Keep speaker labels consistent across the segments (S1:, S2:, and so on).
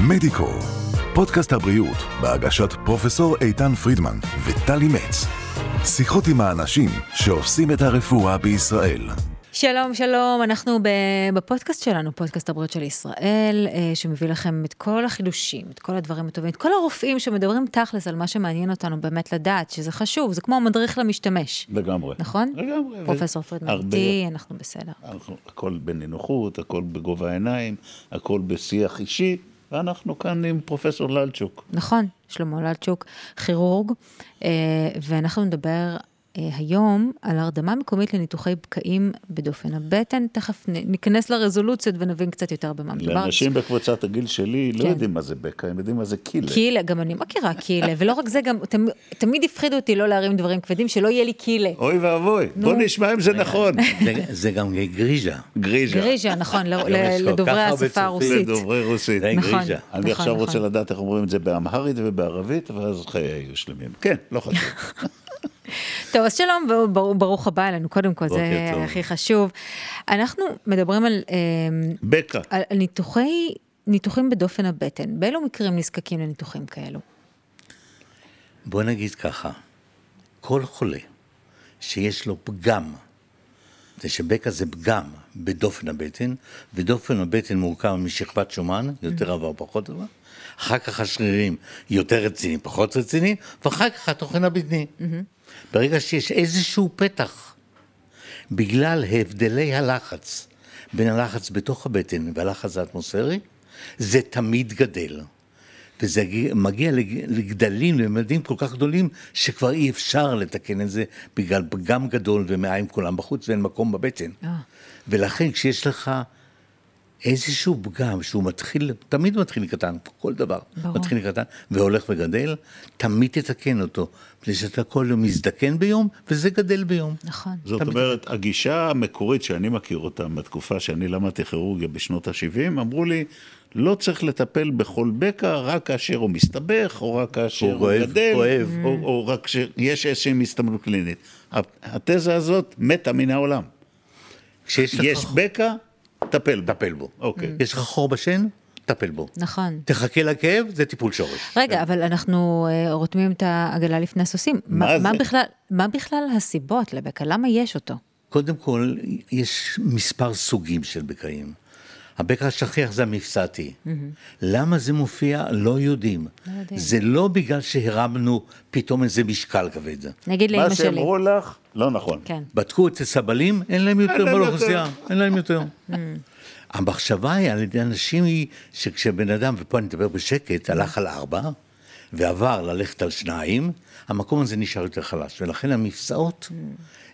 S1: מדיקו, פודקאסט הבריאות בהגשת פרופסור איתן פרידמן וטלי מצ. שיחות עם האנשים שעושים את הרפואה בישראל.
S2: שלום, שלום, אנחנו ב- בפודקאסט שלנו, פודקאסט הבריאות של ישראל, אה, שמביא לכם את כל החידושים, את כל הדברים הטובים, את כל הרופאים שמדברים תכלס על מה שמעניין אותנו באמת לדעת, שזה חשוב, זה כמו מדריך למשתמש,
S3: לגמרי.
S2: נכון?
S3: לגמרי.
S2: פרופסור פרידמן,
S3: הרבה-
S2: איתי, אנחנו בסדר.
S3: אנחנו- הכל בנינוחות, הכל בגובה העיניים, הכל בשיח אישי, ואנחנו כאן עם פרופסור ללצ'וק.
S2: נכון, שלמה ללצ'וק, כירורג, אה, ואנחנו נדבר אה, היום על הרדמה מקומית לניתוחי בקעים בדופן הבטן, תכף נ- ניכנס לרזולוציות ונבין קצת יותר במה מדובר.
S3: לאנשים בקבוצת הגיל שלי לא
S2: כן.
S3: יודעים מה זה בקע, הם יודעים מה זה קילה.
S2: קילה, גם אני מכירה קילה, ולא רק זה, גם תמ- תמיד הפחידו אותי לא להרים דברים כבדים, שלא יהיה לי קילה.
S3: אוי ואבוי, בוא נשמע אם זה נכון.
S4: זה- זה גם גריז'ה.
S3: גריז'ה.
S2: גריז'ה, נכון, ל-
S4: יש
S2: ל-
S4: כל כך
S2: לדוברי
S4: הרבה
S2: השפה
S4: צופים
S2: הרוסית.
S3: לדוברי רוסית.
S4: זה
S2: נכון,
S4: כן, גריז'ה.
S3: אני
S2: נכון,
S3: עכשיו רוצה
S2: נכון.
S3: לדעת איך אומרים את זה באמהרית ובערבית, ואז חיי היו שלמים. כן, לא חשוב.
S2: טוב, אז שלום וברוך ברוך הבא אלינו, קודם כל, זה
S4: בוקר טוב.
S2: הכי חשוב. אנחנו מדברים על אמ,
S3: בקע.
S2: על על ניתוחי, ניתוחים בדופן הבטן. באילו מקרים נזקקים לניתוחים כאלו?
S4: בוא נגיד ככה, כל חולה שיש לו פגם, זה שבקע זה פגם בדופן הבטן, ודופן הבטן מורכב משכבת שומן, יותר עבר פחות עבר, אחר כך השרירים יותר רציני, פחות רציני, ואחר כך התוכן הבטני. ברגע שיש איזשהו פתח בגלל הבדלי הלחץ בין הלחץ בתוך הבטן והלחץ האטמוספרי, זה תמיד גדל. וזה ג- מגיע לג- לגדלים, לממדים כל כך גדולים, שכבר אי אפשר לתקן את זה בגלל פגם גדול ומעיים כולם בחוץ ואין מקום בבטן.
S2: אה.
S4: ולכן כשיש לך איזשהו פגם שהוא מתחיל, תמיד מתחיל מקטן, כל דבר.
S2: ברור.
S4: מתחיל מקטן והולך וגדל, תמיד תתקן אותו. מפני שאתה כל יום מזדקן ביום, וזה גדל ביום.
S2: נכון.
S3: זאת
S4: תמיד.
S3: אומרת, הגישה המקורית שאני מכיר אותה בתקופה שאני למדתי כירורגיה בשנות ה-70, אמרו לי, לא צריך לטפל בכל בקע רק כאשר הוא מסתבך, או רק כאשר
S4: הוא
S3: הוא
S4: רועב,
S3: גדל,
S4: כואב.
S3: או, או רק כשיש איזושהי הסתמלות קלינית. ה- התזה הזאת מתה מן העולם.
S4: כשיש לך
S3: יש בקע, טפל בו.
S4: טפל בו.
S3: אוקיי.
S4: יש לך חור בשן, טפל בו.
S2: נכון.
S4: תחכה לכאב, זה טיפול שורש.
S2: רגע, אבל אנחנו אה, רותמים את העגלה לפני הסוסים.
S3: מה
S2: מה- מה
S3: זה?
S2: בכלל- מה בכלל הסיבות לבקע? למה יש אותו?
S4: קודם כל, יש מספר סוגים של בקעים. הבקע השכיח זה המפסעתי. למה זה מופיע? לא יודעים.
S2: לא יודעים.
S4: זה לא בגלל שהרמנו פתאום איזה משקל כבד.
S2: נגיד לאמא
S3: מה
S2: שלי.
S3: שאמרו לך, לא נכון.
S2: כן.
S4: בדקו אצל סבלים, אין להם יותר
S3: להם
S4: באוכלוסייה,
S3: יותר.
S4: אין להם יותר.
S2: Mm.
S4: המחשבה היא על ידי אנשים היא שכשבן אדם, ופה אני מדבר בשקט, הלך על ארבע ועבר ללכת על שניים, המקום הזה נשאר יותר חלש, ולכן
S2: Mm.
S4: המפסעות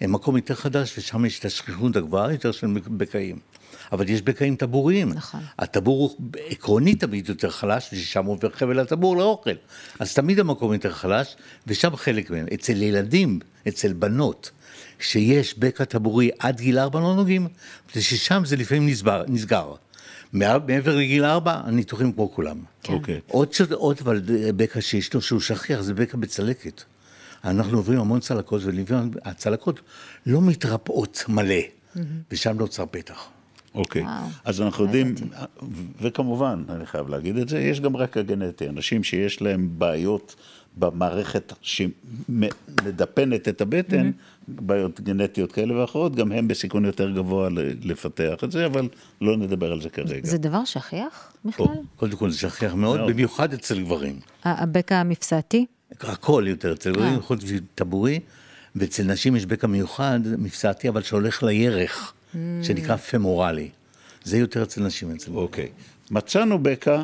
S4: הם מקום יותר חדש ושם יש את השכיחות הגבוהה יותר של בקעים. אבל יש בקעים טבוריים.
S2: נכון.
S4: הטבור הוא עקרונית תמיד יותר חלש, ושם עובר חבל הטבור לאוכל. אז תמיד המקום יותר חלש, ושם חלק מהם. אצל ילדים, אצל בנות, שיש בקע טבורי עד גיל ארבע לא נוגעים, זה ששם זה לפעמים נסבר, נסגר. מעל- מעבר לגיל ארבע, הניתוחים כמו כולם.
S3: אוקיי.
S4: עוד, ש... עוד אבל אה, בקע שישנו שהוא שכיח, זה בקע בצלקת. אנחנו עוברים המון צלקות, ולפעמים הצלקות לא מתרפאות מלא, ושם נוצר פתח.
S3: אוקיי.
S2: וואו,
S3: אז אנחנו יודעים, וכמובן, אני חייב להגיד את זה, יש גם רקע גנטי. אנשים שיש להם בעיות במערכת שמדפנת את הבטן, בעיות גנטיות כאלה ואחרות, גם הם בסיכון יותר גבוה ל- לפתח את זה, אבל לא נדבר על זה כרגע.
S2: זה דבר שכיח בכלל?
S4: קודם כל זה שכיח מאוד,
S3: מאוד.
S4: במיוחד אצל גברים.
S2: ה- הבקע המפסעתי?
S4: הכל יותר אצל
S2: אה.
S4: גברים, חוץ מטבורי, ואצל נשים יש בקע מיוחד, מפסעתי, אבל שהולך לירך, שנקרא פמורלי. זה יותר אצל נשים אצל גברים.
S3: אוקיי. מצאנו בקע,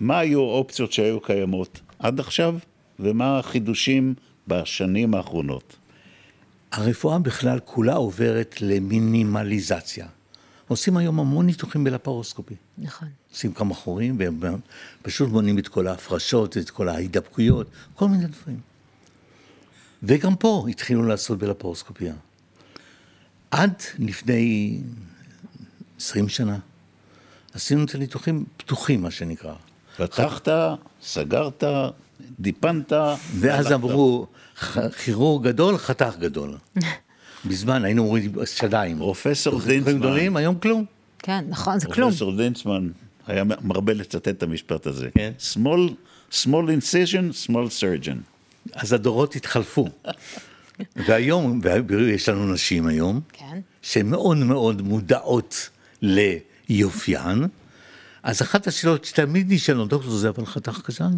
S3: מה היו האופציות שהיו קיימות עד עכשיו, ומה החידושים בשנים האחרונות.
S4: הרפואה בכלל כולה עוברת למינימליזציה. עושים היום המון ניתוחים בלפרוסקופי.
S2: נכון.
S4: עושים כמה חורים, והם פשוט מונעים את כל ההפרשות, את כל ההידבקויות, כל מיני דברים. וגם פה התחילו לעשות בלפרוסקופיה. עד לפני 20 שנה עשינו את הניתוחים פתוחים, מה שנקרא.
S3: פתחת, סגרת, דיפנת.
S4: ואז
S3: הלכת.
S4: אמרו, "ח- כירורג גדול, חתך גדול. בזמן היינו אומרים שדיים.
S3: פרופסור
S4: דברים
S3: דינצמן.
S4: גדולים, היום כלום.
S2: כן, נכון, זה כלום.
S3: פרופסור דינצמן היה מרבה לצטט את המשפט הזה.
S4: כן.
S3: small, small incision, small surgeon.
S4: אז הדורות התחלפו. והיום, ויש לנו נשים היום,
S2: כן.
S4: שהן מאוד מאוד מודעות ליופיין, אז אחת השאלות שתמיד נשאלות, דוקטור, זה אבל חתך קטן?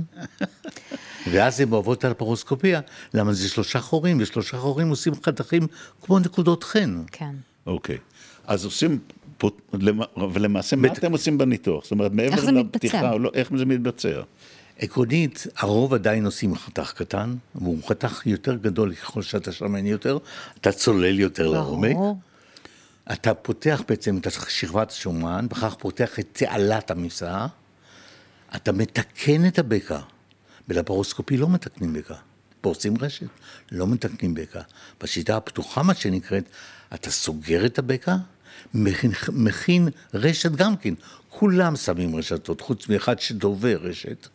S4: ואז הן אוהבות על הפרוסקופיה, למה זה שלושה חורים, ושלושה חורים עושים חתכים כמו נקודות חן.
S2: כן.
S3: אוקיי. אז עושים, פות- למ- ולמעשה, מה אתם עושים בניתוח? זאת אומרת,
S2: איך
S3: מעבר
S2: זה
S3: לפתיחה,
S2: מתבצע?
S3: או לא, איך זה מתבצע?
S4: עקרונית, הרוב עדיין עושים חתך קטן, והוא חתך יותר גדול ככל שאתה שמן יותר, אתה צולל יותר לעומק.
S2: ברור.
S4: אתה פותח בעצם את שכבת השומן, בכך פותח את תעלת המפסעה, אתה מתקן את הבקע. בלפרוסקופי לא מתקנים בקע. פורסים רשת, לא מתקנים בקע. בשיטה הפתוחה, מה שנקראת, אתה סוגר את הבקע, מכין, מכין רשת גם כן. כולם שמים רשתות, חוץ מאחד שדובר רשת.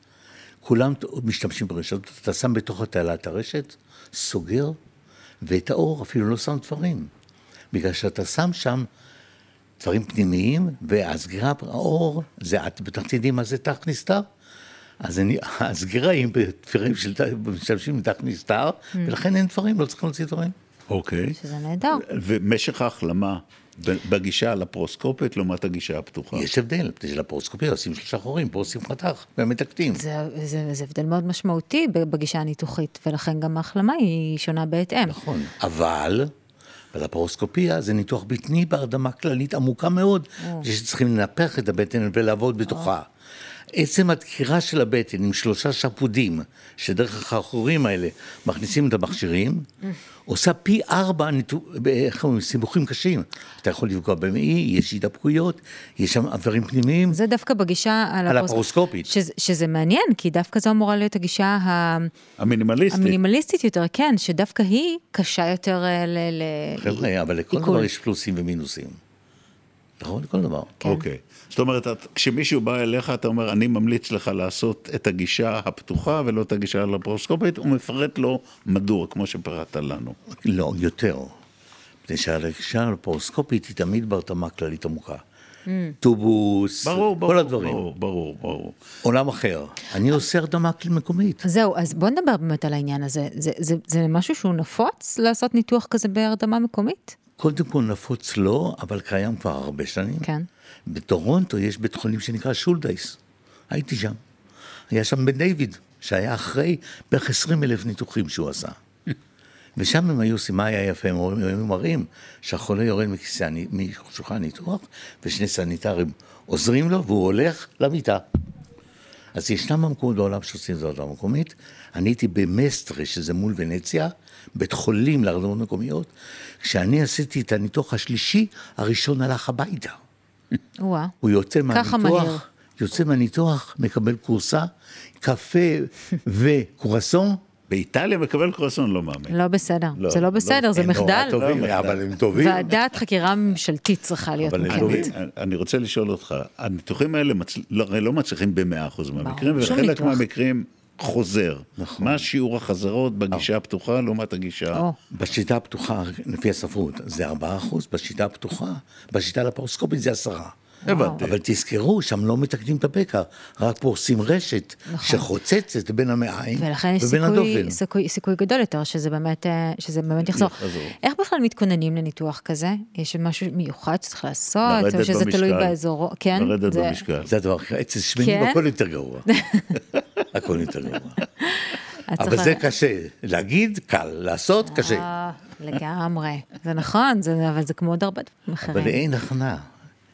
S4: כולם משתמשים ברשתות, אתה שם בתוך התעלה את הרשת, סוגר, ואת האור אפילו לא שם דברים. בגלל שאתה שם שם דברים פנימיים, והסגירה, האור, זה, את בטח תדעי מה זה תח נסתר. אז אני, הסגירה היא בתפירים של, משתמשים בתח נסתר, ולכן אין דברים, לא צריכים להוציא דברים.
S3: אוקיי.
S2: שזה נהדר.
S3: ומשך ההחלמה ב- בגישה לפרוסקופית לעומת הגישה הפתוחה.
S4: יש הבדל, מפני שלפרוסקופיה עושים שלושה חורים, פה עושים חתך, ומתקתים.
S2: זה, זה, זה הבדל מאוד משמעותי ב- בגישה הניתוחית, ולכן גם ההחלמה היא שונה בהתאם.
S4: נכון. אבל, בלפרוסקופיה זה ניתוח בטני בהרדמה כללית עמוקה מאוד, שצריכים לנפח את הבטן ולעבוד
S2: אה.
S4: בתוכה. עצם הדקירה של הבטן עם שלושה שפודים, שדרך החרחורים האלה מכניסים את המכשירים,
S2: אה.
S4: עושה פי ארבע ניתוח, איך אומרים, סיבוכים קשים. אתה יכול לפגוע במעי, יש הידבקויות, יש שם איברים פנימיים.
S2: זה דווקא בגישה על הפרוס-
S4: הפרוסקופית.
S2: שזה, שזה מעניין, כי דווקא זו אמורה להיות הגישה ה...
S3: המינימליסטית.
S2: המינימליסטית יותר, כן, שדווקא היא קשה יותר אה, ל... ל-
S4: חבר'ה, אבל לכל
S2: עיכול.
S4: דבר יש פלוסים ומינוסים. נכון? לכל דבר.
S2: כן.
S3: אוקיי. זאת אומרת, את- כשמישהו בא אליך, אתה אומר, אני ממליץ לך לעשות את הגישה הפתוחה ולא את הגישה הלפרוסקופית, הוא מפרט לו מדוע, כמו שפירטת לנו.
S4: לא, יותר. מפני שהרגישה הפרוסקופית היא תמיד בהרתמה כללית עמוקה. טובוס,
S3: ברור, ברור.
S4: כל הדברים.
S3: ברור, ברור, ברור.
S4: עולם אחר. אני עושה הרדמה כל- מקומית.
S2: זהו, אז בוא נדבר באמת על העניין הזה. זה, זה, זה משהו שהוא נפוץ לעשות ניתוח כזה בהרדמה מקומית?
S4: קודם כל נפוץ לא, אבל קיים כבר הרבה שנים.
S2: כן.
S4: בטורונטו יש בית חולים שנקרא שולדייס. הייתי שם. היה שם בן דיוויד, שהיה אחרי בערך 20 אלף ניתוחים שהוא עשה. ושם הם היו עושים, מה היה יפה, הם היו מראים שהחולה יורד מכיסא הני- משולחן הניתוח, ושני סניטרים עוזרים לו, והוא הולך למיטה. אז ישנם המקומות בעולם שעושים זאת המקומית. אני הייתי במסטרה, שזה מול ונציה, בית חולים להרדמות מקומיות. כשאני עשיתי את הניתוח השלישי, הראשון הלך הביתה.
S2: וואה.
S4: הוא יוצא
S2: ככה מהר.
S4: מהניתוח, יוצא מהניתוח, מקבל כורסה, קפה וקורסון.
S3: באיטליה מקבל קרואסון, לא מאמין.
S2: לא בסדר.
S3: לא,
S2: זה לא
S3: לא,
S2: בסדר, זה
S4: הם נורא
S2: מחדל.
S4: טובים,
S3: לא,
S4: אבל
S3: מחדל.
S4: הם טובים.
S2: ועדת חקירה ממשלתית צריכה להיות
S4: אבל הם
S3: אני,
S2: מוקמת.
S4: באמת.
S3: אני רוצה לשאול אותך, הניתוחים האלה מצל... לא, הרי לא מצליחים ב-100% מהמקרים,
S2: ברור, שום
S3: וחלק
S2: ניתוח.
S3: מהמקרים חוזר.
S4: נכון.
S3: מה שיעור החזרות בגישה הפתוחה לעומת הגישה...
S2: או.
S4: בשיטה הפתוחה, לפי הספרות, זה 4%, בשיטה הפתוחה, בשיטה לפרוסקופית זה 10%.
S3: הבנתי.
S4: אבל תזכרו, שם לא מתקנים את הבקע, רק פורסים רשת שחוצצת בין המעיים
S2: נכון. ולכן יש
S4: ובין
S2: סיכוי,
S4: הדופן.
S2: סיכוי, סיכוי גדול יותר שזה באמת, אה, שזה באמת יחזור.
S3: יחזור.
S2: איך בכלל מתכוננים לניתוח כזה? יש משהו מיוחד שצריך לעשות,
S3: לרדת
S2: או שזה תלוי
S3: במשקל.
S2: באזור? כן?
S3: לרדת
S2: זה-
S3: במשקל.
S4: זה הדבר הכי, אצל שמנים
S2: כן?
S4: הכל יותר גרוע. הכל יותר גרוע.
S2: את
S4: אבל
S2: צריכה-
S4: זה קשה, להגיד קל, לעשות קשה.
S2: אה, לגמרי. זה נכון, זה- אבל זה כמו עוד הרבה דברים
S4: אבל
S2: אחרים.
S4: אין הכנה.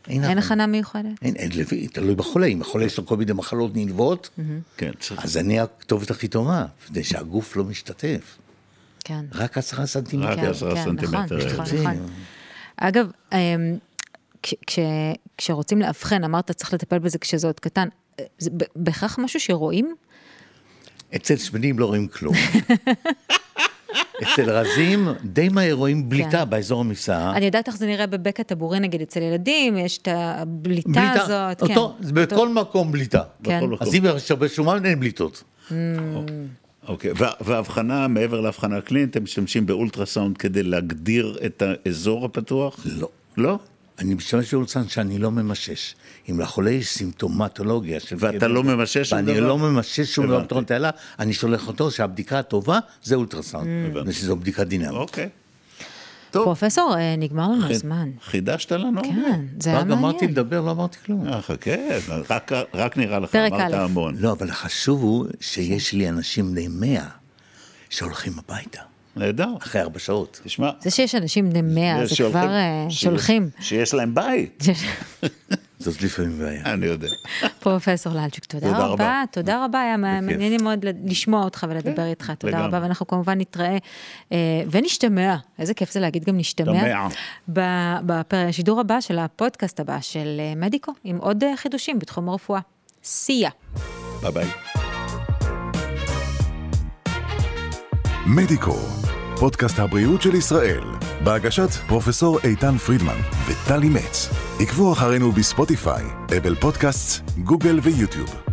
S2: כן. אין הכנה מיוחדת.
S4: אין, אין, לפי- תלוי בחולה, אם החולה יש לו כל מיני מחלות נלוות,
S3: כן, צריך...
S4: אז אני הכתובת הכי טובה, מפני שהגוף לא משתתף,
S2: כן.
S4: רק עשרה
S3: רק
S4: סנטימטר.
S3: עשרה
S2: כן,
S3: סנטימטר.
S2: נכון, נכון,
S4: זה-
S2: נכון. אגב, אמ, כש- כש- כשרוצים לאבחן, אמרת צריך לטפל בזה כשזה עוד קטן, אה, זה ב- בהכרח משהו שרואים?
S4: אצל שמנים לא רואים כלום. אצל רזים, די מהר רואים בליטה
S2: כן.
S4: באזור המפסעה.
S2: אני יודעת איך זה נראה בבקע טבורי, נגיד, אצל ילדים, יש את הבליטה
S4: בליטה,
S2: הזאת. כן.
S4: אותו, זה בכל מקום בליטה.
S2: כן.
S3: בכל מקום.
S4: אז אם יש הרבה שומן, אין בליטות.
S3: אוקיי, וה- וההבחנה, מעבר להבחנה הקלינית, הם משתמשים באולטרסאונד כדי להגדיר את האזור הפתוח?
S4: לא.
S3: לא?
S4: אני משתמש ברוצן שאני לא ממשש. אם לחולה יש סימפטומטולוגיה של...
S3: ואתה לא ממשש שום
S4: ואני
S3: דבר?
S4: לא ממשש שום דבר,
S3: הבנתי.
S4: טרונט אלא, אני שולח אותו שהבדיקה הטובה זה אולטרסאונד.
S3: הבנתי.
S4: ושזו בדיקה דינמית.
S3: אוקיי. טוב,
S2: פרופסור, אה, נגמר לנו
S3: כן.
S2: הזמן.
S3: חידשת לנו?
S2: כן, זה היה
S4: רק אמרתי
S2: מעניין.
S4: לדבר, לא אמרתי כלום.
S3: אה, חכה, רק- רק נראה לך,
S2: פרק
S3: אמרת
S2: א'.
S3: המון.
S4: לא, אבל החשוב הוא שיש לי אנשים בני 100 שהולכים הביתה
S3: נהדר.
S4: אחרי ארבע שעות.
S3: תשמע,
S2: זה שיש אנשים בני 100, זה
S3: שהולכים-
S2: כבר אה,
S3: שיש-
S2: שולחים.
S3: שיש להם בית,
S4: זאת לפעמים בעיה.
S3: אני יודע.
S2: פרופסור ללצ'יק, תודה
S3: תודה
S2: רבה,
S3: רבה.
S2: תודה רבה, היה מעניין מאוד ל- לשמוע אותך ולדבר איתך, תודה
S3: לגמרי.
S2: רבה, ואנחנו כמובן נתראה אה, ונשתמע, איזה כיף זה להגיד גם נשתמע,
S3: נשתמע.
S2: בשידור הבא של הפודקאסט הבא של אה, מדיקו, עם עוד אה, חידושים בתחום הרפואה. סיה.
S3: ביי ביי.
S1: מדיקו, פודקאסט הבריאות של ישראל, בהגשת פרופסור איתן פרידמן וטלי מצ. עקבו אחרינו בספוטיפיי, אבל פודקאסט, גוגל ויוטיוב.